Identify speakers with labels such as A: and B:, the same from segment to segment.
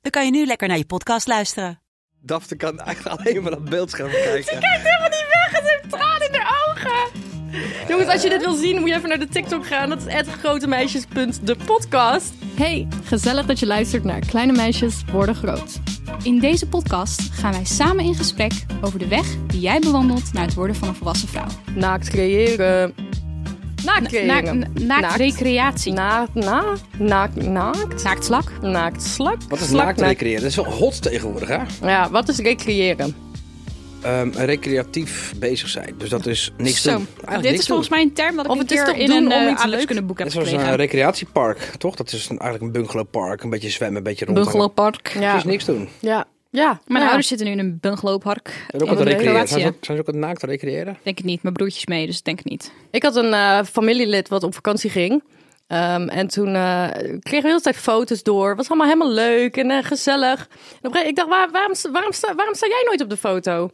A: dan kan je nu lekker naar je podcast luisteren.
B: Dafte kan eigenlijk alleen maar op beeldscherm kijken.
C: kijkt helemaal niet weg en ze heeft tranen in haar ogen. Jongens, als je dit wil zien, moet je even naar de TikTok gaan. Dat is @grotemeisjes.depodcast.
D: Hey, gezellig dat je luistert naar Kleine Meisjes Worden Groot. In deze podcast gaan wij samen in gesprek over de weg die jij bewandelt naar het worden van een volwassen vrouw.
C: Naakt creëren. Naakt
D: Na,
C: creëren.
D: na- naakt,
C: Naakt.
D: recreatie.
C: Na, na, naakt, naakt,
D: Naaktslak.
C: naakt, slak.
B: Wat is
C: slak-
B: naakt recreëren? Dat is wel hot tegenwoordig, hè?
C: Ja, wat is recreëren?
B: Ehm, recreatief bezig zijn. Dus dat is niks
D: Zo.
B: doen. Eigenlijk
D: Dit
B: niks
D: is volgens mij een term dat ik
C: Of
D: een
C: het is
D: keer
C: toch
D: in
C: doen
D: een
C: om
D: eh,
C: iets
D: Alex
C: leuks-
D: kunnen boek
B: doen.
D: heb
B: Dat is zo'n eh,
D: gekregen.
B: recreatiepark, toch? Dat is een, eigenlijk een bungalowpark. Een beetje zwemmen, een beetje rondhangen. Dus
D: Bungalowpark.
B: Het
C: Ja,
B: is niks doen.
C: ja, ja.
D: Mijn
C: ja.
D: ouders zitten nu in een bungalowpark
B: Zijn ze ook aan
D: in
B: het recreëren?
D: Kroatië.
B: Zijn ze ook, zijn ze ook aan het naakt recreëren?
D: Denk het niet. Mijn broertjes mee, dus ik denk het niet.
C: Ik had een eh, familielid wat op vakantie ging. Ehm, en toen eh, kregen we de hele tijd foto's door. Was allemaal helemaal leuk en eh, gezellig. En op een gegeven moment, ik dacht, waar- waarom, sta- waarom, sta, waarom sta jij nooit op de foto?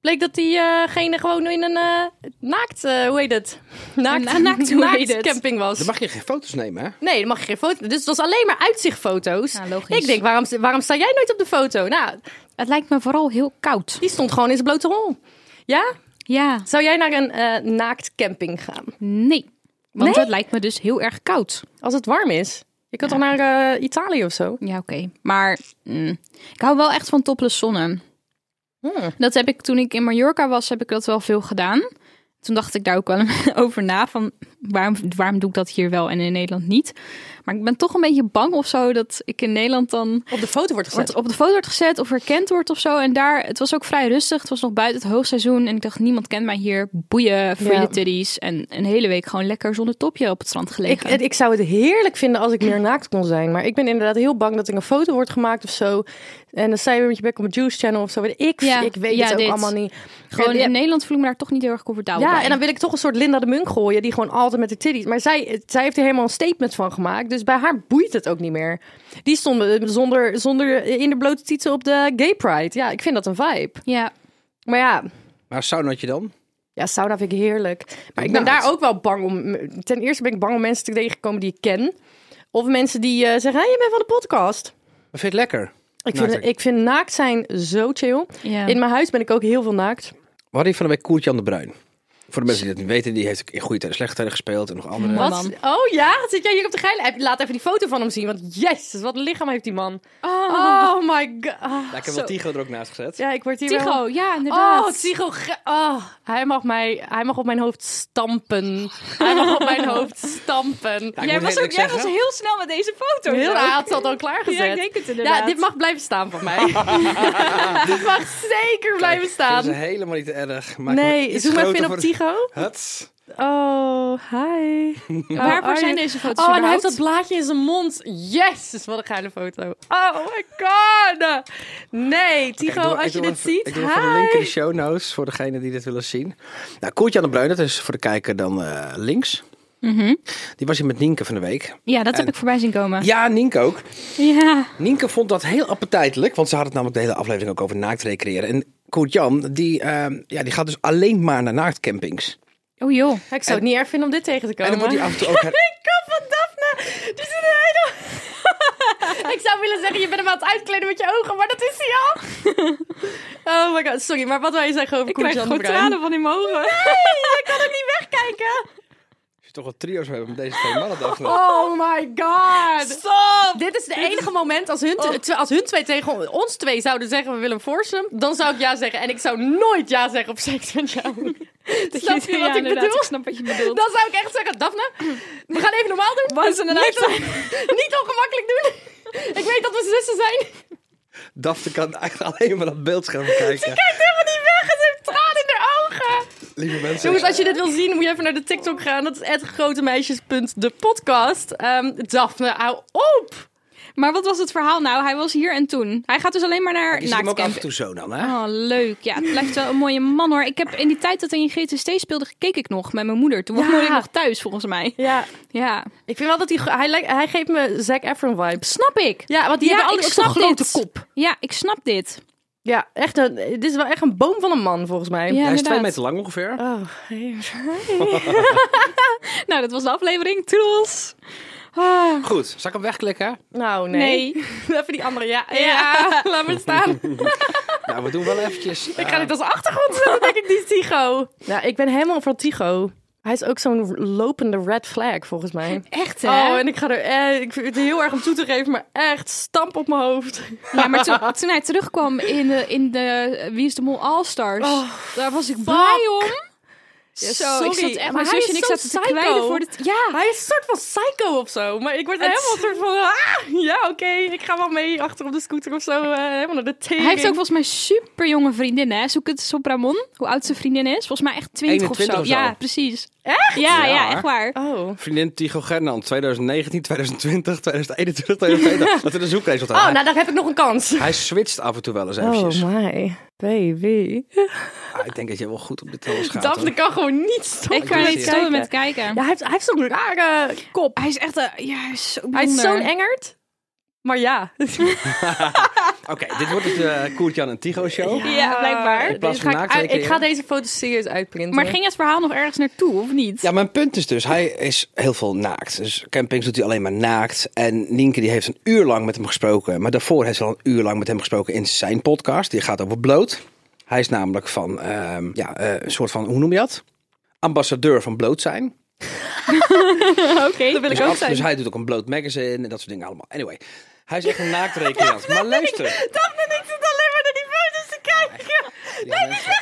C: Bleek dat diegene gewoon in een eh, naakt, eh, hoe heet het? Naakt,
D: na- naakt, hoe heet het?
C: camping was.
B: Dan mag je geen foto's nemen, hè?
C: Nee, dan mag je geen foto. Dus het was alleen maar uitzichtfoto's.
D: Ja, logisch.
C: Ik denk, waarom, waarom sta jij nooit op de foto? Nou,
D: Het lijkt me vooral heel koud.
C: die stond gewoon in zijn blote hol. Ja?
D: Ja,
C: Zou jij naar een eh, naakt camping gaan?
D: nee. Want
C: Nee?
D: het lijkt me dus heel erg koud.
C: Als het warm is. Je kan toch naar eh, Italië of zo?
D: Ja, oké. Maar mm, ik hou wel echt van topless zonnen.
C: Hmm.
D: Dat heb ik toen ik in Mallorca was, heb ik dat wel veel gedaan. Toen dacht ik daar ook wel over na van waarom, waarom doe ik dat hier wel en in Nederland niet. Maar ik ben toch een beetje bang of zo dat ik in Nederland dan
C: Op de foto wordt gezet.
D: wordt op de foto wordt gezet of herkend wordt of zo. En daar, het was ook vrij rustig. Het was nog buiten het hoogseizoen en ik dacht niemand kent mij hier. Boeien, free
C: Ja.
D: the titties en een hele week gewoon lekker zonder topje op het strand
C: Ik,
D: gelegen.
C: het- ik zou het heerlijk vinden als ik meer naakt kon zijn. Maar ik ben inderdaad heel bang dat ik een foto wordt gemaakt of zo. En dan sta je weer met je back on the juice channel of zo. Weet Ik,
D: Ja,
C: ik weet
D: ja,
C: het ook
D: dit.
C: allemaal niet.
D: gewoon
C: Ja,
D: in Nederland voel ik me daar toch niet heel erg comfortabel
C: ja,
D: bij.
C: en dan wil ik toch een soort Linda de Munk gooien. Die gewoon altijd met de titties. Maar zij, zij heeft er helemaal een statement van gemaakt. Dus bij haar boeit het ook niet meer. Die stonden eh, zonder, zonder eh, in de blote tieten op de gay pride. Ja, ik vind dat een vibe.
D: ja,
C: Maar ja,
B: Maar saunaatje dan?
C: Ja, sauna vind ik heerlijk. Maar ik ben
B: Inderdaad.
C: daar ook wel bang om. Ten eerste ben ik bang om mensen te tegenkomen die ik ken. Of mensen die eh, zeggen, hé, je bent van de podcast.
B: Dat vind je het lekker?
C: Ik vind,
B: Naakt.
C: ik vind naakt zijn zo chill.
D: ja.
C: In mijn huis ben ik ook heel veel naakt.
B: We hadden hier van de week Koert-Jan de Bruin. Voor de mensen die dat niet weten, die heeft ook in goede tijden, slechte tijden gespeeld en nog andere.
D: Wat?
C: Wat?
D: man.
C: Oh ja, zit jij hier op de geile? app? Laat even die foto van hem zien. Want jezus, wat een lichaam heeft die man.
D: Oh,
C: Oh my god. Ah,
B: Daar heb
C: zo.
B: wel Tigo er ook naast gezet.
C: Ja, ik word hier wel...
D: Tycho, ja, inderdaad.
C: Oh, Tigo. Oh, hij, mag mij, hij mag op mijn hoofd stampen. Hij mag op mijn hoofd stampen.
B: ik
D: jij
B: moet
D: was, ook,
B: eerlijk
D: jij was
B: zeggen-
D: heel snel met deze foto.
C: Heel
D: ook.
C: raar, had ze dat al klaargezet.
D: Ja, ik denk het inderdaad.
C: Ja, dit mag blijven staan van mij. dit mag zeker blijven
B: Dat is
C: staan.
B: helemaal niet erg. Maak hem
C: Nee,
B: iets
C: zoek maar
B: groter
C: even op
B: voor-
C: Tigo.
B: Huts.
C: Oh, hi.
D: Waarvoor
C: Oh,
D: zijn
C: Arjen-
D: deze foto's
C: Oh, en hij heeft
D: überhaupt?
C: dat blaadje in zijn mond. Jezus, wat een geile foto. Oh my god. Nee,
B: Kijk,
C: Tigo,
B: ik doe- ik
C: als je
B: doe
C: dit
B: even-
C: ziet,
B: Ik doe even een link in de
C: hi.
B: show notes voor degene die dit willen zien. Nou, Koertje aan de Bruin, dat is voor de kijker dan eh, links.
D: Mhm.
B: Die was hier met Nienke van de week.
D: Ja, dat heb
B: En-
D: ik voorbij zien komen.
B: Ja, Nienke ook.
D: Ja.
B: Nienke vond dat heel appetijtelijk, want ze had het namelijk de hele aflevering ook over naakt recreëren. En Koert-Jan, die, ehm, ja, die gaat dus alleen maar naar naaktcampings.
D: Oh joh.
C: Ik zou het niet erg vinden om dit tegen te
B: En
C: komen.
B: dan wordt hij af en toe ook... her-
C: Ik kom van Daphne. Die zit er helemaal- Ik zou willen zeggen, je bent hem aan het uitkleden met je ogen, maar dat is hij al. Oh my god, sorry. Maar wat wil je zeggen over
D: Ik krijg
C: Koert-Jan de
D: gewoon
C: Bruin?
D: tranen van in mijn ogen.
C: Nee, ik kan ook niet wegkijken.
B: Als je toch wat trio's mee hebt met deze twee mannen, dacht ik.
C: Oh my god.
D: Stop!
C: Dit is Oh. het enige moment als hun, te- te- als hun twee tegen ons twee zouden zeggen we willen forcen, dan zou ik ja zeggen. En ik zou nooit ja zeggen op seks met jou. Snap je wat ik bedoel?
D: Ik snap wat je bedoelt.
C: Dan zou ik echt zeggen, Daphne, we gaan even normaal doen.
D: Once in a
C: niet,
D: lifetime.
C: niet ongemakkelijk doen. Ik weet dat we zussen zijn.
B: Daphne kan eigenlijk alleen maar dat beeldscherm kijken.
C: Kijkt helemaal niet weg en ze heeft tranen in haar ogen.
B: Lieve mensen.
C: Jongens, als je dit wil zien, moet je even naar de TikTok gaan. Dat is @grotemeisjes.depodcast. Ehm Daphne, hou op.
D: Maar wat was het verhaal nou? Hij was hier en toen. Hij gaat dus alleen maar naar
B: Je ziet hem ook af en
D: naaktcamp.
B: toe zo dan, hè?
D: Oh, leuk. Ja, het blijft wel een mooie man hoor. Ik heb in die tijd dat hij in GTST speelde, keek ik nog met mijn moeder. Toen was
C: Ja.
D: mijn moeder nog thuis, volgens mij.
C: Ja,
D: Ja,
C: ik vind wel dat hij, hij, lijkt- hij geeft me Zac Efron vibes.
D: snap ik.
C: Ja, want die
D: Ja,
C: hebben altijd
D: ik
C: ook zo'n
D: snap
C: grote
D: dit.
C: kop.
D: Ja, ik snap dit.
C: Ja, echt een, dit is wel echt een boom van een man volgens mij.
B: Hij
D: Ja,
B: is twee
D: inderdaad.
B: meter lang ongeveer.
C: Oh,
D: Nou, dat was de aflevering. Toedels. Ah,
B: Goed, zal ik hem wegklikken?
C: nou nee.
D: nee.
C: Even die andere, ja. ja.
D: Ja, laat maar staan.
B: Nou, we doen wel eventjes... eh,
C: Ik ga dit als achtergrond zetten, denk ik, die Tigo. Nou, ik ben helemaal van Tigo. Hij is ook zo'n lopende red flag volgens mij.
D: Echt, hè?
C: Oh, en ik ga er, eh, ik vind het heel erg om toe te geven, maar echt stamp op mijn hoofd.
D: Ja, maar toen, toen hij terugkwam in de, in de eh, Wie is de Mol All-Stars, daar was ik blij om.
C: Oh, Ja,
D: zo,
C: sorry,
D: ik zat echt,
C: maar
D: mijn
C: hij is
D: zusje en ik
C: zo
D: zaten te
C: psycho.
D: kwijlen voor dit... Ja,
C: Hij is een soort van psycho of zo, maar ik word er
D: Het-
C: helemaal een soort van, ah, ja, oké, ik ga wel mee achter op de scooter of zo, eh, helemaal naar de tering.
D: hij heeft ook volgens mij super jonge vriendinnen. Hè? Zoek het eens op Ramon, hoe oud zijn vriendin is. Volgens mij echt 20 of,
B: 21
D: zo.
B: of zo.
D: Ja, precies.
C: Echt?
D: Ja, ja,
B: Ja,
D: echt waar.
C: Oh.
B: Vriendin Tigo Gernand, 2019, 2020, 2021, 2022. Dat is een zoekresultaat.
C: Oh, nou, Oh, daar heb ik nog een kans.
B: Hij switcht af en toe wel eens eventjes.
C: my baby.
B: Ah, ik denk dat jij wel goed op dit alles gaat.
C: Daphne
B: hoor.
C: kan gewoon niet stoppen.
D: Ik kan
B: zie
D: niet
B: het.
D: stoppen met kijken.
C: Ja, hij heeft, hij heeft zo'n rare kop.
D: Hij is echt... eh, ja, hij is zo
C: Hij is
D: bijzonder.
C: zo'n engert. Maar ja.
B: Oké, dit wordt het eh Koert-Jan en Tigo-show.
D: Ja, blijkbaar.
B: Ah, In plaats
C: Deze
B: van
C: Dus ga ik,
B: naakt
C: uit- ik ga
B: recreëren.
C: deze foto's serieus uitprinten.
D: Maar ging het verhaal nog ergens naartoe, of niet?
B: Ja, mijn punt is dus, hij is heel veel naakt. Dus campings doet hij alleen maar naakt. En Nienke die heeft een uur lang met hem gesproken. Maar daarvoor heeft ze al een uur lang met hem gesproken in zijn podcast. Die gaat over bloot. Hij is namelijk van, ehm, ja, eh, een soort van, hoe noem je dat? Ambassadeur van bloot zijn.
D: Oké.
C: wil ik
B: Dus,
C: ook
B: af-
C: zijn.
B: dus hij doet ook een bloot magazine en dat soort dingen allemaal. Anyway, hij is echt een naakt Maar luister.
C: Dan ben ik het alleen maar naar die foto's te kijken.
B: Ja, mensen.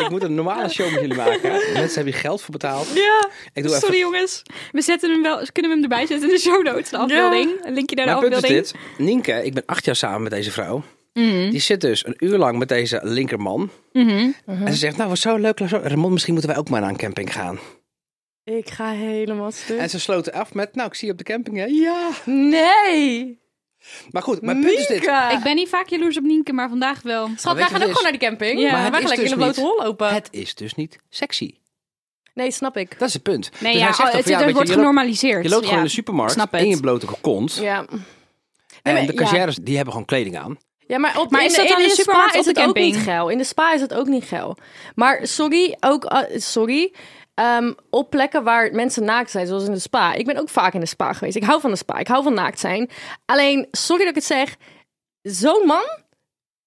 B: Ik moet een normale show met jullie maken. Mensen hebben hier geld voor betaald.
C: Ja.
B: Ik doe even
D: Sorry jongens. We zetten hem wel, kunnen we hem erbij zetten in de show notes, de afbeelding. Een Linkje naar de
B: Mijn punt is
D: afbeelding.
B: dit. Nienke, ik ben acht jaar samen met deze vrouw.
D: Mhm.
B: Die zit dus een uur lang met deze linkerman. En ze zegt, nou wat zo leuk. zo- Ramon, misschien moeten wij ook maar naar een camping gaan.
C: Ik ga helemaal
B: En
C: stuk.
B: ze sloten af met, nou ik zie je op de camping hè. Ja.
C: Nee.
B: Maar goed, mijn punt is dit.
C: Mika.
D: Ik ben niet vaak jaloers op Nienke, maar vandaag wel.
B: Maar
C: Schat, wij
B: weet je
C: gaan
B: wat
C: ook
B: is?
C: gewoon naar die camping.
D: Ja,
C: Ja,
D: maar
C: wij
B: het
C: gaan
B: is
C: lekker in
B: dus
C: een blote
B: niet-
C: hol lopen.
B: Het is dus niet sexy.
C: Nee, snap ik.
B: Dat is het punt. Dus
D: Nee,
B: hij
D: ja, oh,
B: zegt dan van,
D: het,
B: ja,
D: het
B: weet je,
D: wordt
B: je loopt-
D: genormaliseerd.
B: Je loopt
D: ja.
B: gewoon in de supermarkt
D: Snap het.
B: in je blote kont.
C: Ja.
B: en
C: maar-
B: de
C: ja.
B: cashières, die hebben gewoon kleding aan.
C: Ja, maar, op,
D: Maar
C: in
D: is
C: de-
D: dat dan
C: in
D: een
C: de
D: supermarkt
C: spa
D: of
C: is het
D: een
C: ook niet
D: camping?
C: geil. In de spa is het ook niet geil. Maar sorry, ook eh, sorry. ehm, op plekken waar mensen naakt zijn, zoals in de spa. Ik ben ook vaak in de spa geweest. Ik hou van de spa. Ik hou van naakt zijn. Alleen, sorry dat ik het zeg. Zo'n man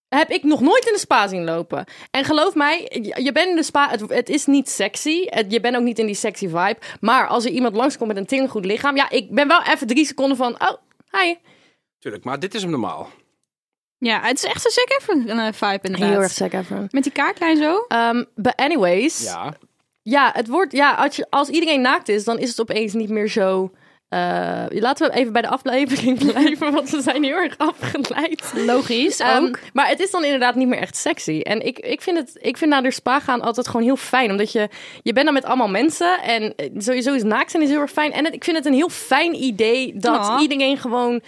C: heb ik nog nooit in de spa zien lopen. En geloof mij, je je bent in de spa, het, het is niet sexy. Het- je bent ook niet in die sexy vibe. Maar als er iemand langskomt met een tingelgoed lichaam... Ja, ik ben wel even drie seconden van... Oh, hi.
B: Tuurlijk, maar dit is hem normaal.
D: Ja, het is echt een Zac Efron eh, vibe inderdaad.
C: sick even.
D: Met die kaartlijn zo.
C: Ehm, but anyways...
B: Ja.
C: Ja, het wordt, ja als, je, als iedereen naakt is, dan is het opeens niet meer zo. eh, laten we even bij de aflevering blijven, want we zijn heel erg afgeleid.
D: Logisch
C: Ehm,
D: ook.
C: maar het is dan inderdaad niet meer echt sexy. En ik, ik vind het, ik vind naar de spa gaan altijd gewoon heel fijn. Omdat je, je bent dan met allemaal mensen. En eh, sowieso is naakt zijn is heel erg fijn. En het- ik vind het een heel fijn idee dat
D: Ja.
C: iedereen gewoon...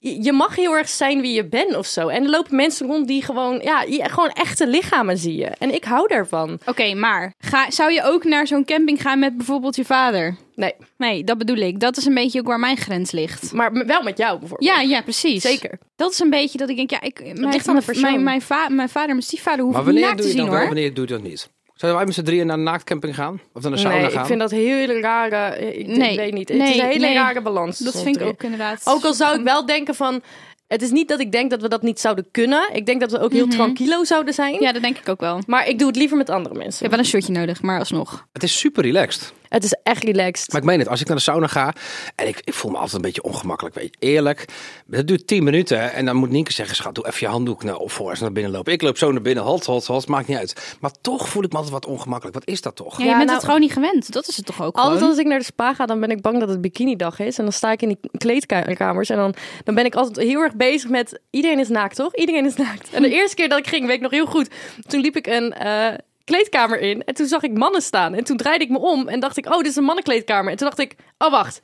C: Je je mag heel erg zijn wie je bent of zo. En er lopen mensen rond die gewoon... Ja, je- gewoon echte lichamen zie je. En ik hou daarvan.
D: Oké, maar ga, zou je ook naar zo'n camping gaan met bijvoorbeeld je vader?
C: Nee,
D: Nee, dat bedoel ik. Dat is een beetje ook waar mijn grens ligt.
C: maar m- wel met jou bijvoorbeeld.
D: Ja, ja, precies.
C: Zeker.
D: Dat is een beetje dat ik denk, ja, ik, mijn,
C: ligt aan de
D: mijn,
C: persoon.
D: mijn, mijn, va- mijn vader, mijn stiefvader hoeft
B: Maar
D: niet
B: wanneer
D: naakt
B: doe
D: te
B: je
D: zien
B: dat wel,
D: hoor.
B: wanneer doe je dat niet? Zouden wij met z'n drieën naar een naaktcamping gaan? Of naar een sauna
C: nee,
B: gaan?
C: ik vind dat hele rare. eh, Ik, ik
D: Nee,
C: weet niet. Het
D: nee,
C: is een hele
D: nee.
C: rare balans.
D: Dat
C: stond
D: vind ik
C: erin.
D: ook inderdaad.
C: Ook al zou ik wel denken van. Het is niet dat ik denk dat we dat niet zouden kunnen. Ik denk dat we ook heel tranquilo zouden zijn.
D: Mhm. Ja, dat denk ik ook wel. Ik
C: Maar ik doe het liever met andere mensen.
D: heb wel een shirtje nodig, maar alsnog.
B: Het is super relaxed.
C: Het is echt relaxed.
B: Maar ik meen het, als ik naar de sauna ga en ik, ik voel me altijd een beetje ongemakkelijk, weet je. Eerlijk, dat duurt 10 minuten en dan moet Nienke zeggen, schat, doe even je handdoek naar, op voor als we naar binnen lopen. Ik loop zo naar binnen, halt, halt, halt, maakt niet uit. Maar toch voel ik me altijd wat ongemakkelijk. Wat is dat toch?
D: Ja,
C: Ja,
D: je bent
C: nou-
D: het gewoon niet gewend. Dat is het toch ook
C: Altijd
D: gewoon?
C: als ik naar de spa ga, dan ben ik bang dat het bikinidag is. En dan sta ik in die kleedkamers. En dan, dan ben ik altijd heel erg bezig met... Iedereen is naakt, toch? Iedereen is naakt. En de eerste keer dat ik ging, weet ik nog heel goed. Toen liep ik een eh kleedkamer in en toen zag ik mannen staan. En toen draaide ik me om en dacht ik, oh, dit is een mannenkleedkamer. En toen dacht ik, oh, wacht.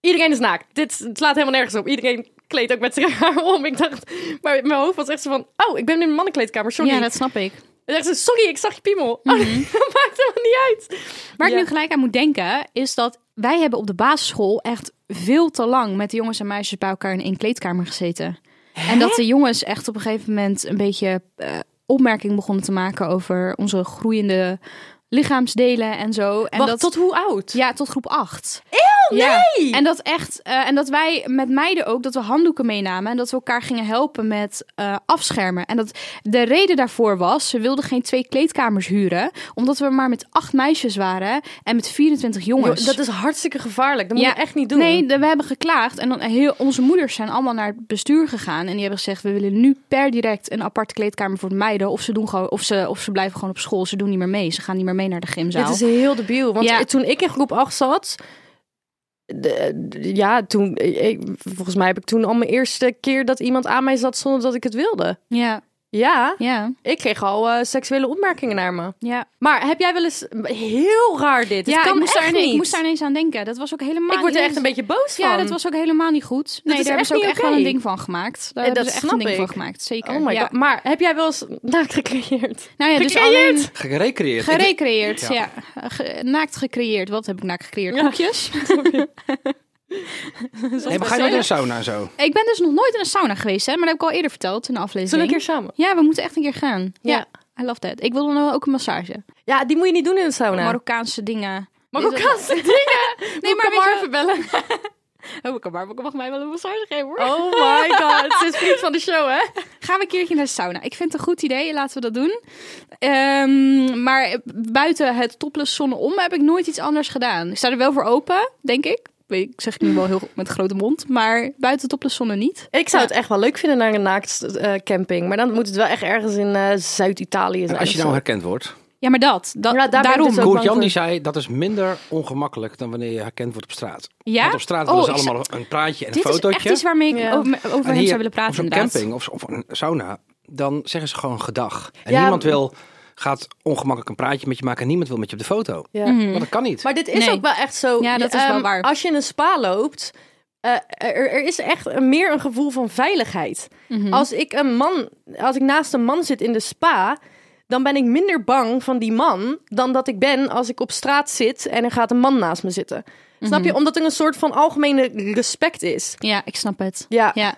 C: Iedereen is naakt. Dit slaat helemaal nergens op. Iedereen kleedt ook met zijn haar om. Ik dacht, maar mijn hoofd was echt zo van, oh, ik ben in een mannenkleedkamer, sorry.
D: Ja, dat Mhm. snap ik.
C: En echt zo, sorry, ik zag je piemel. Oh, dat maakt helemaal niet uit.
D: Waar
C: Ja.
D: ik nu gelijk aan moet denken, is dat wij hebben op de basisschool echt veel te lang met de jongens en meisjes bij elkaar in één kleedkamer gezeten. En dat de jongens echt op een gegeven moment een beetje eh opmerking begonnen te maken over onze groeiende lichaamsdelen en zo. En
C: Wacht,
D: dat,
C: tot hoe oud?
D: Ja, tot groep 8.
C: Oh,
D: Eeuw, nee! En dat echt, eh, en dat wij met meiden ook, dat we handdoeken meenamen en dat we elkaar gingen helpen met eh, afschermen. En dat de reden daarvoor was, ze wilden geen twee kleedkamers huren, omdat we maar met acht meisjes waren en met 24 jongens.
C: Joh, dat is hartstikke gevaarlijk. Dat moet je echt niet doen.
D: Nee, de- we hebben geklaagd en dan heel, onze moeders zijn allemaal naar het bestuur gegaan en die hebben gezegd: we willen nu per direct een aparte kleedkamer voor de meiden, of ze doen gewoon, of ze, of ze blijven gewoon op school, ze doen niet meer mee, ze gaan niet meer mee naar de gymzaal.
C: Dit is heel debiel. Want
D: Ja.
C: toen ik in groep 8 zat. de- de- ja, toen. Ik, volgens mij heb ik toen al mijn eerste keer dat iemand aan mij zat zonder dat ik het wilde.
D: Ja,
C: Ja,
D: ja,
C: ik kreeg al eh, seksuele opmerkingen naar me.
D: ja.
C: Maar heb jij wel eens. Heel raar dit. dit
D: ja,
C: kan
D: ik, moest
C: echt
D: daar,
C: niet.
D: nee, ik moest daar ineens aan denken. Dat was ook helemaal
C: Ik word er
D: niet-
C: echt een beetje boos van.
D: Ja, dat was ook helemaal niet goed. Nee,
C: is
D: daar hebben
C: echt
D: ze ook
C: niet
D: echt wel
C: oké.
D: een ding van gemaakt.
C: Eh,
D: Daar hebben
C: dat
D: ze echt een
C: snap
D: ding van
C: ik.
D: gemaakt, zeker.
C: Oh my
D: ja.
C: god. Maar heb jij wel eens naakt gecreëerd?
D: Nou ja, dus
C: Gecreëerd!
D: alleen
B: Gerecreëerd.
D: gerecreëerd, ja. Ge- naakt gecreëerd. Wat heb ik naakt gecreëerd? Koekjes.
B: Hey, maar ga je nooit in de sauna en zo?
D: Ik ben dus nog nooit in een sauna geweest, hè. Maar dat heb ik al eerder verteld in de aflevering.
C: Zullen we een keer samen?
D: Ja, we moeten echt een keer gaan. Ja.
C: Ja.
D: I love that. Ik wil dan ook een massage.
C: Ja, die moet je niet doen in de sauna.
D: Marokkaanse dingen.
C: Marokkaanse dingen.
D: Nee,
C: maar
D: maar weet je-
C: even bellen.
D: Oh, ik kan maar, ik mag mij wel een massage geven, hoor.
C: Oh my god. Ze is vriend van de show, hè?
D: Gaan we een keertje naar de sauna. Ik vind het een goed idee, laten we dat doen. Ehm, maar buiten het topless zonne om heb ik nooit iets anders gedaan. Ik sta er wel voor open, denk ik. Weet Ik zeg ik nu wel heel met grote mond, maar buiten topless zonne niet.
C: Ik zou het echt wel leuk vinden naar een naakt eh, camping. Maar dan moet het wel echt ergens in eh, Zuid-Italië zijn.
B: En als je
C: of
B: nou
C: zo.
B: herkend wordt.
D: Ja, maar dat, dat
C: Ja, daar ben ik
D: daarom.
C: dus ook- bang
B: Koert-Jan
C: voor.
B: die zei, dat is minder ongemakkelijk dan wanneer je herkend wordt op straat.
D: Ja?
B: Want op straat
D: Oh,
B: willen ze
D: ik
B: allemaal een praatje en een
D: Dit is echt
B: fotootje.
D: iets waarmee ik
C: Ja.
D: over, me- over
B: En
D: hem
B: hier,
D: zou willen
B: Op
D: praten,
B: zo'n
D: inderdaad.
B: camping of, zo- of een sauna, dan zeggen ze gewoon gedag. En
C: Ja.
B: niemand wil, gaat ongemakkelijk een praatje met je maken en niemand wil met je op de foto.
C: Ja.
B: Want dat kan niet.
C: Mm. Maar dit is
D: Nee.
C: ook wel echt zo.
D: Ja, dat is
C: Ehm,
D: wel waar.
C: Als je in een spa loopt, eh, er, er is echt een- meer een gevoel van veiligheid.
D: Mhm.
C: Als ik een man, als ik naast een man zit in de spa, dan ben ik minder bang van die man dan dat ik ben als ik op straat zit en er gaat een man naast me zitten.
D: Mhm.
C: Snap je? Omdat er een soort van algemene respect is.
D: Ja, ik snap het.
C: Ja.
D: ja.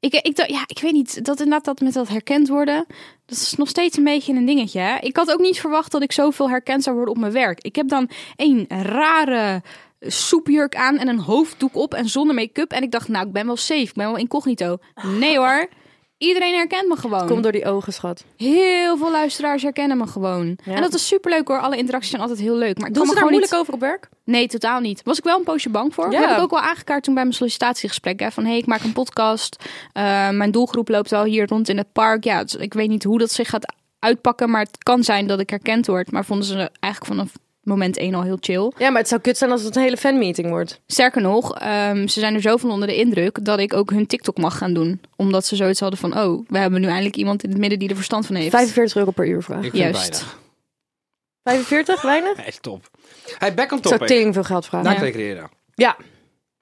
D: Ik, ik, dacht- ja, ik weet niet, dat inderdaad dat met dat herkend worden, dat is nog steeds een beetje een dingetje. Hè? Ik had ook niet verwacht dat ik zoveel herkend zou worden op mijn werk. Ik heb dan één rare soepjurk aan en een hoofddoek op en zonder make-up. En ik dacht, nou, ik ben wel safe, ik ben wel incognito. Nee hoor, iedereen herkent me gewoon.
C: Kom door die ogen, schat.
D: Heel veel luisteraars herkennen me gewoon.
C: Ja.
D: En dat is superleuk hoor, alle interacties zijn altijd heel leuk. Maar ik
C: Doen
D: kan
C: ze
D: me
C: daar
D: gewoon niet-
C: moeilijk over op werk?
D: Nee, totaal niet. Was ik wel een poosje bang voor.
C: Ja.
D: Dat heb ik ook wel aangekaart toen bij mijn sollicitatiegesprek. Hè, van hé, hey, ik maak een podcast. Eh, mijn doelgroep loopt wel hier rond in het park. Ja, dus ik weet niet hoe dat zich gaat uitpakken. Maar het kan zijn dat ik herkend word. Maar vonden ze eigenlijk vanaf moment één al heel chill.
C: Ja, maar het zou kut zijn als het een hele fanmeeting wordt.
D: Sterker nog, ehm, ze zijn er zo van onder de indruk dat ik ook hun TikTok mag gaan doen. Omdat ze zoiets hadden van, oh, we hebben nu eindelijk iemand in het midden die er verstand van heeft.
C: 45 euro per uur
B: ik
C: vraag.
B: vind het
D: juist.
B: weinig.
C: 45? Weinig?
B: Hij is top. Hij back on
C: Ik zou
B: topic.
C: tering veel geld vragen.
B: Naakt recreëren.
C: Ja.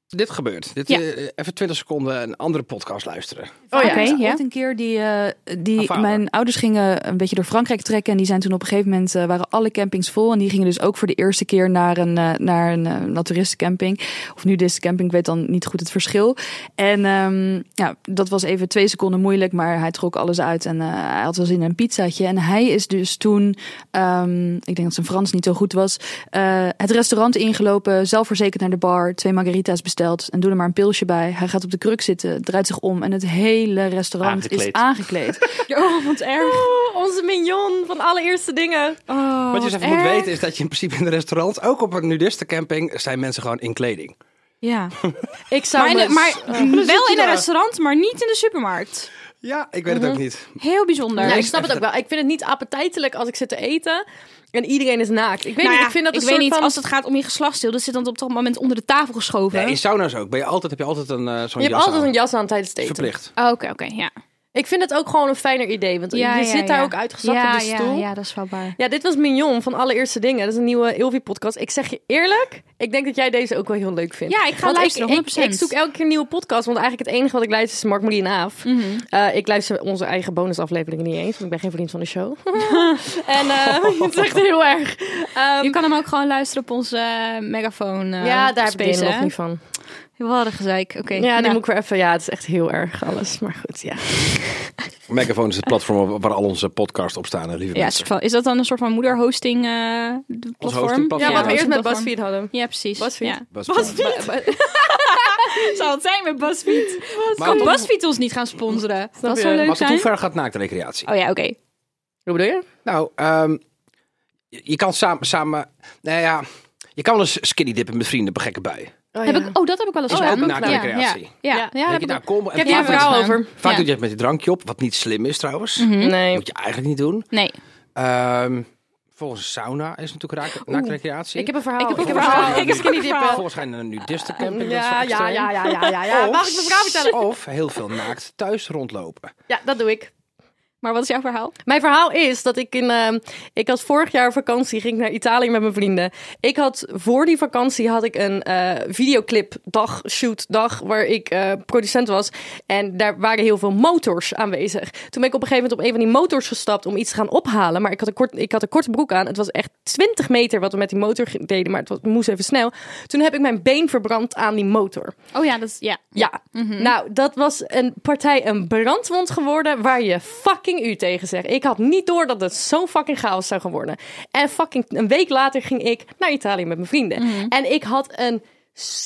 B: Dit gebeurt. Dit,
D: Ja.
B: eh, even 20 seconden een andere podcast luisteren.
C: Oh ja.
D: Oké.
E: Ik
D: ja.
E: had een keer die, eh,
B: Haar
E: die
B: vader.
E: mijn ouders gingen een beetje door Frankrijk trekken en die zijn toen op een gegeven moment eh, waren alle campings vol en die gingen dus ook voor de eerste keer naar een eh, naar een eh, naturistencamping of nu deze camping, ik weet dan niet goed het verschil. En ehm, ja, dat was even twee seconden moeilijk, maar hij trok alles uit en eh, hij had wel zin in een pizzaatje en hij is dus toen, ehm, ik denk dat zijn Frans niet zo goed was, eh, het restaurant ingelopen, zelfverzekerd naar de bar, twee margarita's besteld en doe er maar een pilsje bij. Hij gaat op de kruk zitten, draait zich om en het hele restaurant is
B: Aangekleed.
E: aangekleed.
D: Oh, wat erg.
C: Oh, onze mignon van allereerste dingen.
E: Oh,
B: Wat je eens even moet
E: erg.
B: weten is dat je in principe in een restaurant, ook op een nudistencamping, zijn mensen gewoon in kleding.
E: Ja.
C: Ik zou
D: Maar, in de-
C: me-
D: maar wel in
B: daar.
D: een restaurant, maar niet in de supermarkt.
B: Ja, ik weet het ook niet.
D: Heel bijzonder.
C: Ja, ik snap het ook wel. Ik vind het niet appetijtelijk als ik zit te eten en iedereen is naakt. Ik weet
D: Nou
C: niet,
D: ja,
C: ik vind dat een
D: weet
C: soort
D: niet,
C: van...
D: als het gaat om je geslachtsdeel, dat zit dan op dat moment onder de tafel geschoven.
B: Nee, in sauna's ook. Ben je altijd, heb je altijd een, eh, zo'n
C: Je hebt
B: jas
C: altijd
B: aan.
C: een jas aan tijdens het eten.
B: Verplicht.
D: Oh, Oké, oké, ja.
C: Ik vind het ook gewoon een fijner idee. Want
D: Ja,
C: je
D: ja,
C: zit daar
D: ja.
C: ook uitgezakt op de stoel.
D: Ja, ja, dat is wel waar.
C: Ja, dit was Mignon van Allereerste Dingen. Dat is een nieuwe Ilvi-podcast. Ik zeg je eerlijk, ik denk dat jij deze ook wel heel leuk vindt.
D: Ja, ik ga
C: Want
D: luisteren,
C: Ik, ik,
D: 100%.
C: ik zoek elke keer een nieuwe podcast, want eigenlijk het enige wat ik luister is Mark Marie en Aaf.
D: Mm. Mhm.
C: Eh, ik luister onze eigen bonusafleveringen niet eens, want ik ben geen vriend van de show. en eh het is echt heel erg. Ehm,
D: Oh. Je kan hem ook gewoon luisteren op onze eh, megafoon. eh,
C: ja, daar heb ik
D: space,
C: de nog
D: hè?
C: niet van.
D: Wat een gezeik. Oké. Nou,
C: Ja, die moet ik weer even... Ja, het is echt heel erg alles. Maar goed, ja.
F: Megaphone is het platform waar- waar al onze podcasts op staan, hè, lieve
D: Ja,
F: mensen.
D: soort van- is dat dan een soort van moederhosting eh, platform?
F: hostingplatform.
C: Ja, wat we eerst met
D: hostingplatform.
C: BuzzFeed hadden.
D: Ja, precies.
C: BuzzFeed.
D: Ja.
F: Bas-
D: Zou het zijn met BuzzFeed? kan
F: tot-
D: BuzzFeed ons niet gaan sponsoren? Dat
C: je?
D: zou leuk
F: Maar tot
D: zijn.
F: hoe ver gaat naakte recreatie?
D: Oh ja, oké.
C: Hoe bedoel je?
F: Nou, ehm, je je kan samen, samen... Nou ja, je kan wel eens skinny dippen met vrienden op een gekke bui.
C: Oh,
D: Heb
C: ja.
D: ik, oh, dat heb ik wel eens
F: Is
D: gedaan.
F: ook naakte
D: ja, ja,
F: recreatie.
D: ja,
C: Ja.
D: ja,
F: Denk je,
D: heb ik
F: nou, kom,
C: Ik heb
F: en
C: hier een
F: vaak doe je-
C: verhaal
D: gedaan.
C: over.
F: Vaak
D: Ja.
F: doe je het met je drankje op, wat niet slim is trouwens.
C: Mm. Nee.
F: Moet je eigenlijk niet doen.
D: Nee.
F: Ehm, volgens de sauna is natuurlijk raak, naakte recreatie.
C: Ik heb een verhaal. Ik heb
D: een verhaal. Ik heb
C: skinny
D: een
C: dippen.
D: verhaal.
F: Volgens mij een nudistencamping.
C: Ja, ja, ja, ja, ja, ja, ja.
F: Of-
C: Mag ik mijn verhaal vertellen?
F: Of heel veel naakt thuis rondlopen.
C: Ja, dat doe ik.
D: Maar wat is jouw verhaal?
C: Mijn verhaal is dat ik in. ehm, ik had vorig jaar vakantie, ging ik naar Italië met mijn vrienden. Ik had voor die vakantie had ik een eh, videoclip dag, shoot dag, waar ik eh, producent was. En daar waren heel veel motors aanwezig. Toen ben ik op een gegeven moment op een van die motors gestapt om iets te gaan ophalen. Maar ik had een, kort, ik had een korte broek aan. Het was echt 20 meter wat we met die motor ge- deden, maar het was, moest even snel. Toen heb ik mijn been verbrand aan die motor.
D: Oh ja, dat is... Ja.
C: Ja,
D: Mhm.
C: nou, dat was een partij een brandwond geworden waar je fucking u tegen zegt. Ik had niet door dat het zo'n fucking chaos zou gaan worden. En fucking een week later ging ik naar Italië met mijn vrienden.
D: Mhm.
C: En ik had een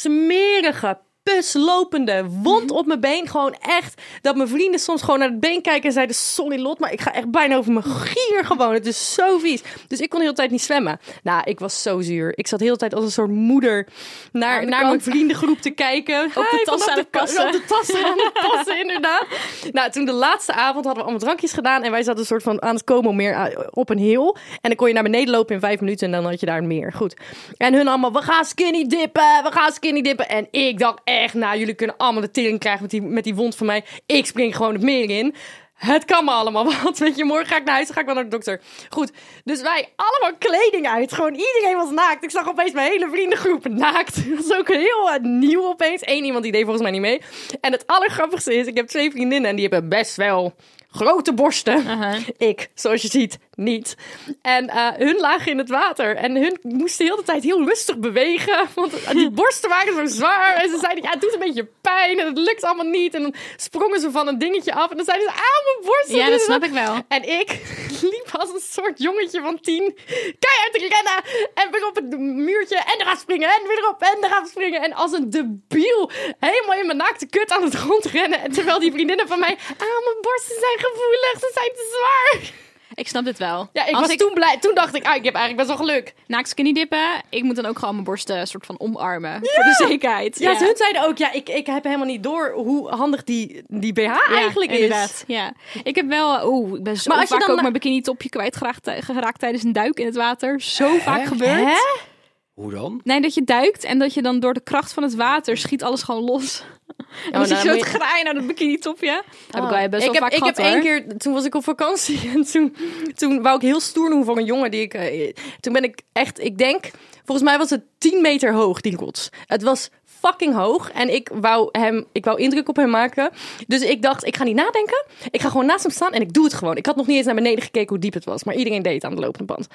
C: smerige puslopende wond
D: Mhm.
C: op mijn been. Gewoon echt dat mijn vrienden soms gewoon naar het been kijken en zeiden... Sorry Lot, maar ik ga echt bijna over mijn gier gewoon. Het is zo vies. Dus ik kon de hele tijd niet zwemmen. Nou, ik was zo zuur. Ik zat de hele tijd als een soort moeder naar,
D: de
C: naar mijn
D: kant.
C: vriendengroep te kijken. Op
D: de tas aan het passen.
C: Op de tas aan het passen, inderdaad. Nou, toen de laatste avond hadden we allemaal drankjes gedaan. En wij zaten een soort van aan het komen meer a- op een heel. En dan kon je naar beneden lopen in vijf minuten. En dan had je daar een meer. Goed. En hun allemaal, we gaan skinny dippen. We gaan skinny dippen. En ik dacht echt, nou, jullie kunnen allemaal de tering krijgen met die, met die wond van mij. Ik spring gewoon het meer in. Het kan me allemaal wat. Weet je, morgen ga ik naar huis, dan ga ik wel naar de dokter. Goed, dus wij allemaal kleding uit. Gewoon iedereen was naakt. Ik zag opeens mijn hele vriendengroep naakt. Dat is ook heel eh, nieuw opeens. Eén iemand die deed volgens mij niet mee. En het allergrappigste is, ik heb twee vriendinnen en die hebben best wel grote borsten.
D: Uh-huh.
C: Ik, zoals je ziet, niet. En eh, hun lagen in het water. En hun moesten de hele tijd heel rustig bewegen. Want die borsten waren zo zwaar. En ze zeiden, ja, het doet een beetje pijn. En het lukt allemaal niet. En dan sprongen ze van een dingetje af. En dan zeiden ze, ah, mijn borsten.
D: Ja,
C: dit
D: dat
C: en
D: snap ik wel.
C: en ik liep als een soort jongetje van tien keihard te rennen. En weer op het muurtje. En eraf springen. En weer erop. En eraf springen. En als een debiel helemaal in mijn naakte kut aan het grond rennen. En terwijl die vriendinnen van mij... Ah, mijn borsten zijn gevoelig. Ze zijn te zwaar.
D: Ik snap dit wel.
C: Ja, ik
D: Als
C: was
D: ik
C: toen blij. Toen dacht ik... Ah, ik heb eigenlijk best wel geluk.
D: naakt skinny dippen, ik moet dan ook gewoon mijn borsten soort van omarmen. Voor de zekerheid.
C: Ja, ze hun zeiden ook... Ja, ik, ik heb helemaal niet door hoe handig die, die BH
D: Ja,
C: eigenlijk is.
D: inderdaad. Ja. Ik heb wel... Oeh, ik ben zo
C: Maar als je
D: vaak
C: dan-
D: ook mijn bikini topje kwijtgeraakt geraakt tijdens een duik in het water. Zo vaak gebeurd.
C: Hè?
F: Hoe dan?
D: Nee, dat je duikt en dat je dan door de kracht van het water schiet alles gewoon los. En dan
C: nou,
D: zit je zo
C: moet
D: te
C: je-
D: graaien naar dat bikini topje. Heb ik wel best wel
C: Oh. ik
D: vaak
C: heb,
D: gehad
C: Ik heb één
D: hoor.
C: keer, toen was ik op vakantie en toen, toen wou ik heel stoer doen voor een jongen die ik... eh, toen ben ik echt, ik denk, volgens mij was het 10 meter hoog die rots. Het was fucking hoog en ik wou, hem, ik wou indruk op hem maken. Dus ik dacht, ik ga niet nadenken. Ik ga gewoon naast hem staan en ik doe het gewoon. Ik had nog niet eens naar beneden gekeken hoe diep het was, maar iedereen deed het aan de lopende band.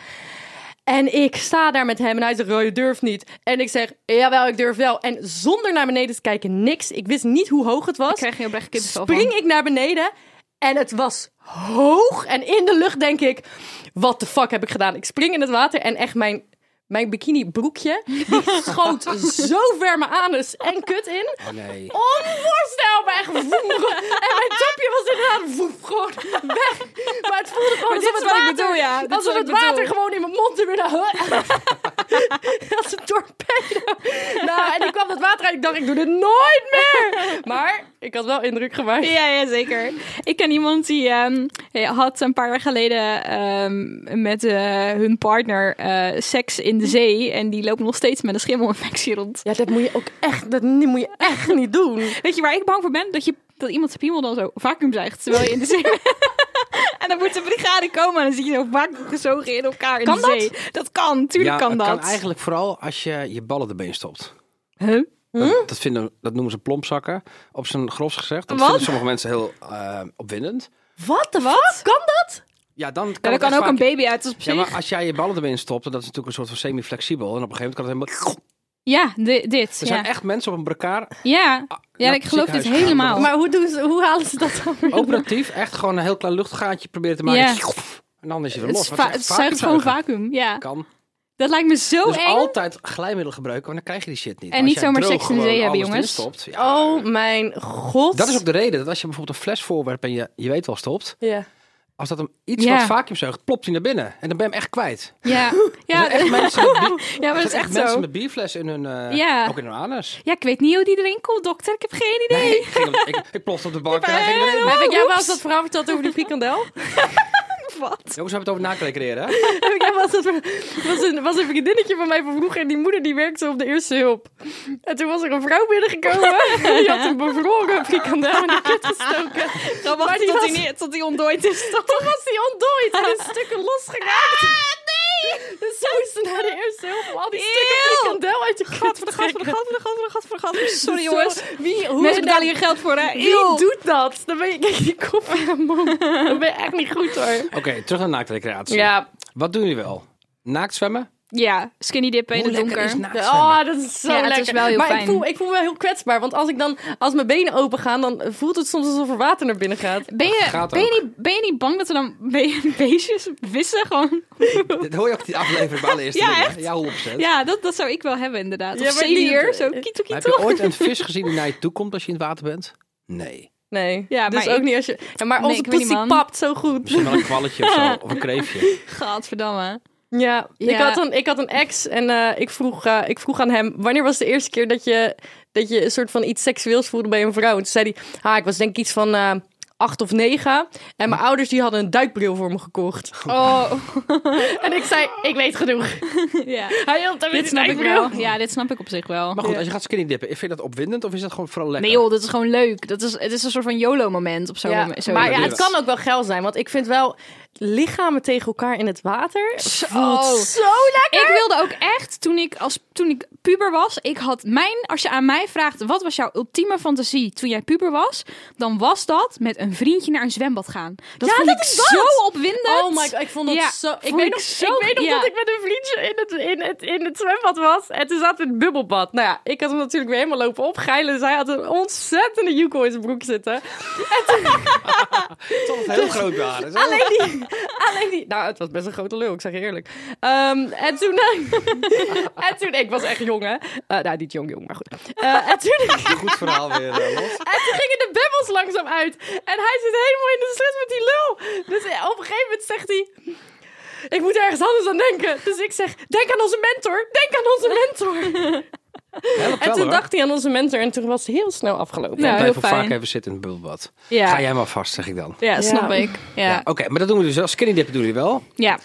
C: En ik sta daar met hem en hij zegt, oh, je durft niet. En ik zeg, jawel, ik durf wel. En zonder naar beneden te kijken, niks. Ik wist niet hoe hoog het was.
D: Ik krijg hier oprecht kippenvel van.
C: Spring ik naar beneden en het was hoog. En in de lucht denk ik, wat de fuck heb ik gedaan? Ik spring in het water en echt mijn, mijn bikini broekje, die schoot zo ver mijn anus en kut in.
F: Nee.
C: Onvoorstelbaar, echt woem. En mijn topje was inderdaad woem, gewoon weg. Maar het voelde gewoon
D: Maar dit
C: alsof
D: is
C: het
D: wat ik
C: water,
D: bedoel, ja. Dit is
C: alsof
D: wat
C: het
D: ik bedoel.
C: water gewoon in mijn mond en weer naar... Als een torpedo. Nou, en ik kwam dat water uit ik dacht, ik doe dit nooit meer. Maar ik had wel indruk gemaakt.
D: Ja, ja, zeker. Ik ken iemand die ehm, had een paar jaar geleden ehm, met eh, hun partner eh, seks in de zee. En die loopt nog steeds met een schimmelinfectie rond.
C: Ja, dat moet je ook echt, dat ni- moet je echt niet doen.
D: Weet je waar ik bang voor ben? Dat je dat iemand zijn piemel dan zo vacuüm zuigt, terwijl je in de zee En dan moet de brigade komen en dan zit je zo vacuüm gezogen in elkaar in
G: Kan
D: de
G: dat?
D: zee. Dat kan, tuurlijk kan
B: het
D: dat.
B: kan eigenlijk vooral als je je ballen erbij stopt.
D: Huh?
B: Dat, dat vinden, dat noemen ze plompzakken, op zijn grofs gezegd. Dat
D: Wat?
B: vinden sommige mensen heel eh, opwindend.
C: Wat de fuck? Kan dat?
B: Ja, dan kan,
D: Ja,
B: het
D: er kan
B: echt
D: ook een
B: vaak-
D: baby uit, dus op
B: Ja,
D: zich.
B: maar als jij je ballen erbij stopt, dat is natuurlijk een soort van semi-flexibel. En op een gegeven moment kan het helemaal...
D: Ja, di- dit.
B: Er
D: ja.
B: zijn echt mensen op een brekaar,
D: ja. ja,
B: naar
D: ik
B: het
D: geloof dit
B: ziekenhuis gaan,
D: helemaal.
C: Maar hoe, doen ze, hoe halen ze dat dan? weer?
B: operatief, echt gewoon een heel klein luchtgaatje proberen te maken.
D: Ja.
B: En dan is je weer
D: het,
B: los.
D: is
B: Want
D: va-
B: echt
D: het zuigt gewoon
B: vacuümzuigen
D: vacuüm. Ja,
B: Kan.
D: dat lijkt me zo
B: Dus
D: eng.
B: altijd glijmiddel gebruiken, want dan krijg je die shit niet.
D: En
B: Als
D: niet
B: jij
D: zomaar
B: droog
D: seks in de
B: gewoon
D: zee hebben,
B: alles
D: jongens.
B: erin stopt, ja.
C: Oh mijn god.
B: Dat is ook de reden dat als je bijvoorbeeld een fles voorwerp en je, je weet wel stopt,
C: Ja.
B: als dat hem iets
D: Ja.
B: wat vacuümzuigt, plopt hij naar binnen. En dan ben je hem echt kwijt.
D: Ja,
B: Ja,
D: ja,
B: echt mensen met, bier-
D: ja, maar
B: er
D: dat is
B: zijn
D: echt
B: mensen
D: zo.
B: met bierflessen in hun, eh,
D: Ja.
B: ook in hun anus.
D: Ja, ik weet niet hoe die erin komt, dokter. Ik heb geen idee. Eh,
B: Nee, ik, ging op- ik, ik plofte op de bank en hij ging erin.
C: Heb ik jou wel
D: oeps.
C: eens dat verhaal verteld over die frikandel?
D: Wat?
B: Jongens, we hebben het over nakrekereren.
C: Heb ik jou wel eens dat ver- Oh, was, een, was een vriendinnetje van mij van vroeger en die moeder die werkte op de eerste hulp. En toen was er een vrouw binnengekomen die had een bevroren frikandel in de kut gestoken.
D: Dan
C: Maar die
D: wacht tot,
C: was-
D: die niet- tot die ontdooid is. toch?
C: Toen was die ontdooid en in stukken losgeraakt. Ah, nee! Dus ze moesten naar de eerste hulp om al die stukken
D: Eeuw!
C: frikandel uit je gat van de gat van de gat.
D: voor de gat, voor de gat, voor de gat. Sorry
C: Zo,
D: jongens.
C: Wie, hoe
D: Mensen
C: dan-
D: betalen hier geld voor, hè?
C: Wie
D: Eeuw.
C: doet dat? Dan ben je, kijk, die kop in mijn mond. Dan ben je echt niet goed hoor.
B: Oké, terug naar naaktrecreatie.
C: Ja.
B: Wat doen jullie wel? Naakt zwemmen?
D: Ja, skinny dippen in
B: Hoe
D: het
B: lekker
D: donker.
B: is naakt zwemmen?
C: Oh, dat is zo
D: Ja, het is
C: lekker.
D: wel heel
C: maar
D: fijn.
C: Ik, voel, ik voel me heel kwetsbaar. Want als ik dan, als mijn benen open gaan, dan voelt het soms alsof er water naar binnen gaat.
D: Ben je,
B: Gaat
D: ben, je
B: ook.
D: niet, ben je niet bang dat er dan be- beestjes vissen gewoon...
B: Dit hoor je ook die aflevering bij allereerste
D: Ja,
B: dingen,
D: echt.
B: hè? Ja, hoe opzet.
D: Ja, dat, dat zou ik wel hebben inderdaad.
C: Ja,
D: Of
C: maar die-
D: zeewier, zo kieto
B: Maar heb
D: kieto.
B: je ooit een vis gezien die naar je toe komt als je in het water bent? Nee.
C: Nee.
D: Ja,
C: dus
D: maar
C: ook
D: ik-
C: niet als je. Ja, maar
D: Nee,
C: onze
D: ik weet niet,
C: pussy
D: man.
C: papt zo goed.
B: Misschien wel een kwalletje of zo, of een kreeftje.
D: Gadverdamme.
C: Ja. Ik,
D: Ja.
C: had een, ik had een ex en eh, ik, vroeg, eh, ik vroeg aan hem: wanneer was de eerste keer dat je, dat je een soort van iets seksueels voelde bij een vrouw? En toen zei hij: ah, ik was denk ik iets van. eh, Acht of negen. En mijn ouders die hadden een duikbril voor me gekocht.
D: Oh,
C: En ik zei, ik weet genoeg.
D: ja.
C: Hij had
D: Dit snap ik wel. Ja, dit snap ik op zich wel.
B: Maar goed, als je gaat skinny dippen, vind je dat opwindend of is dat gewoon vooral lekker?
D: Nee joh, dat is gewoon leuk. Dat is, het is een soort van YOLO-moment op zo'n
C: Ja,
D: moment. Zo
C: maar ja,
D: moment.
C: het kan ook wel geil zijn. Want ik vind wel lichamen tegen elkaar in het water.
D: Oh.
C: Voelt zo lekker.
D: Ik wilde ook echt, toen ik, als, toen ik puber was, ik had mijn, als je aan mij vraagt, wat was jouw ultieme fantasie toen jij puber was? Dan was dat met een vriendje naar een zwembad gaan. Dat
C: Ja,
D: vond
C: dat
D: ik
C: is dat!
D: zo opwindend.
C: Oh my god, ik vond dat
D: Ja,
C: zo... Ik
D: vond
C: weet,
D: ik
C: nog,
D: zo-
C: ik weet nog
D: ja.
C: dat ik met een vriendje in het, in, het, in het zwembad was. En toen zaten we in het bubbelbad. Nou ja, ik had hem natuurlijk weer helemaal lopen opgeilen. Dus hij had een ontzettende joekel in zijn broek zitten.
B: Het is altijd
D: Dus-
B: heel groot waren. zo.
C: Alleen die, alleen die. Nou, het was best een grote lul, ik zeg je eerlijk. Ehm, en toen. eh, en toen. Ik was echt jong, hè? Eh, nou, niet jong, jong, maar goed. Eh, en, toen,
B: Goed verhaal weer, eh, Lot.
C: en toen gingen de bubbels langzaam uit. En hij zit helemaal in de slit met die lul. Dus eh, op een gegeven moment zegt hij. Ik moet ergens anders aan denken. Dus ik zeg: Denk aan onze mentor. Denk aan onze mentor.
B: Helpt
C: En
B: wel,
C: toen
B: hoor.
C: dacht hij aan onze mentor. En toen was het heel snel afgelopen.
D: Ja,
B: Ja,
D: heel
B: blijf wel
D: fijn.
B: vaak even zitten in het bubbelbad.
D: Ja.
B: Ga jij maar vast, zeg ik dan.
D: Ja, snap
C: Ja.
D: ik. Ja.
B: Oké, maar dat doen we dus wel. Skinny dippen doen jullie wel.
D: ja,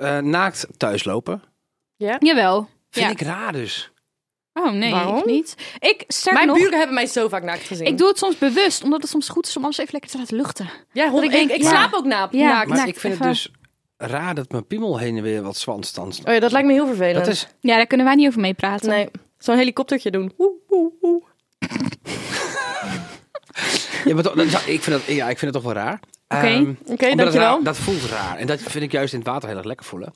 B: Eh, naakt thuislopen.
D: jawel.
B: Vind
D: Ja.
B: ik raar dus.
D: Oh nee,
C: Waarom?
D: ik niet. Ik, sterker
C: Mijn
D: nog,
C: buren hebben mij zo vaak naakt gezien.
D: ik doe het soms bewust, omdat het soms goed is om alles even lekker te laten luchten.
C: ja, hond,
D: dat ik
C: ik,
D: denk,
C: ik
D: ja.
C: slaap ook naakt.
D: Ja.
C: naakt.
B: Maar
D: Naakt,
B: ik vind het
D: even-
B: dus raar dat mijn piemel heen en weer wat zwanstans.
C: Oh ja, dat lijkt me heel vervelend.
B: Dat is...
D: Ja, daar kunnen wij niet over meepraten.
C: Nee, zo'n helikoptertje doen. Oeh, oeh, oeh.
B: Ja, maar toch- dat is- ik, vind dat, ja, ik vind het toch wel raar.
D: Oké.
B: Ehm,
D: Oké,
B: omdat het
C: dankjewel.
B: raar- Dat voelt raar. En dat vind ik juist in het water heel erg lekker voelen.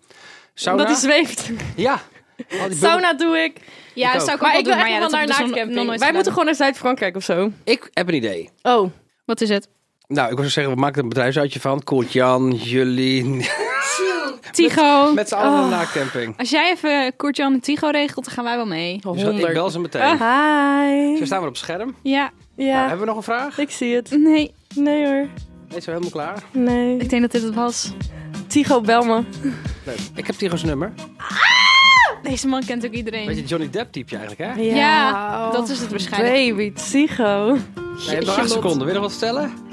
B: Sauna?
C: Dat is zweeft.
B: Ja. Al die bubbel-
C: Sauna doe ik.
D: Ja, dat zou ik ook
C: Maar
D: wel
C: ik wil echt
D: doen, maar ja,
C: wel
D: dat
C: naar
D: heb ik dus nog- nog nooit
C: naaktcamping. Wij
D: gedaan.
C: moeten gewoon naar Zuid-Frankrijk of zo.
B: Ik heb een idee.
C: Oh.
D: Wat is het?
B: Nou, ik wil zeggen, we maken er een bedrijfsuitje van. Koert-Jan, jullie...
D: Tigo.
B: Met z'n allen
C: Oh,
B: een naaktcamping.
D: Als jij even Koert-Jan en Tigo regelt, dan gaan wij wel mee.
B: Dus dat- ik bel ze meteen.
C: Ah, Hi.
B: Ze staan weer op scherm.
D: Ja,
B: Nou,
C: Ja,
B: hebben we nog een vraag?
C: ik zie het.
D: nee.
C: Nee hoor.
B: Is we helemaal klaar?
C: Nee.
D: Ik denk dat dit het was.
C: Tigo, bel me.
B: Leuk. Ik heb Tigo's nummer.
D: Deze man kent ook iedereen.
B: Weet je, Johnny Depp type je eigenlijk, hè? Nee,
D: ja, dat is het waarschijnlijk.
C: Baby, Tigo.
B: je hebt nog acht seconden. Wil je nog wat stellen?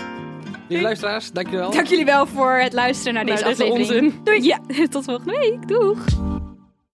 B: Lieve luisteraars, dankjewel.
D: Dank jullie wel voor het luisteren naar
C: Nou,
D: deze
C: dit is
D: aflevering.
C: onzin.
D: Doei. Ja, tot volgende week. Doeg.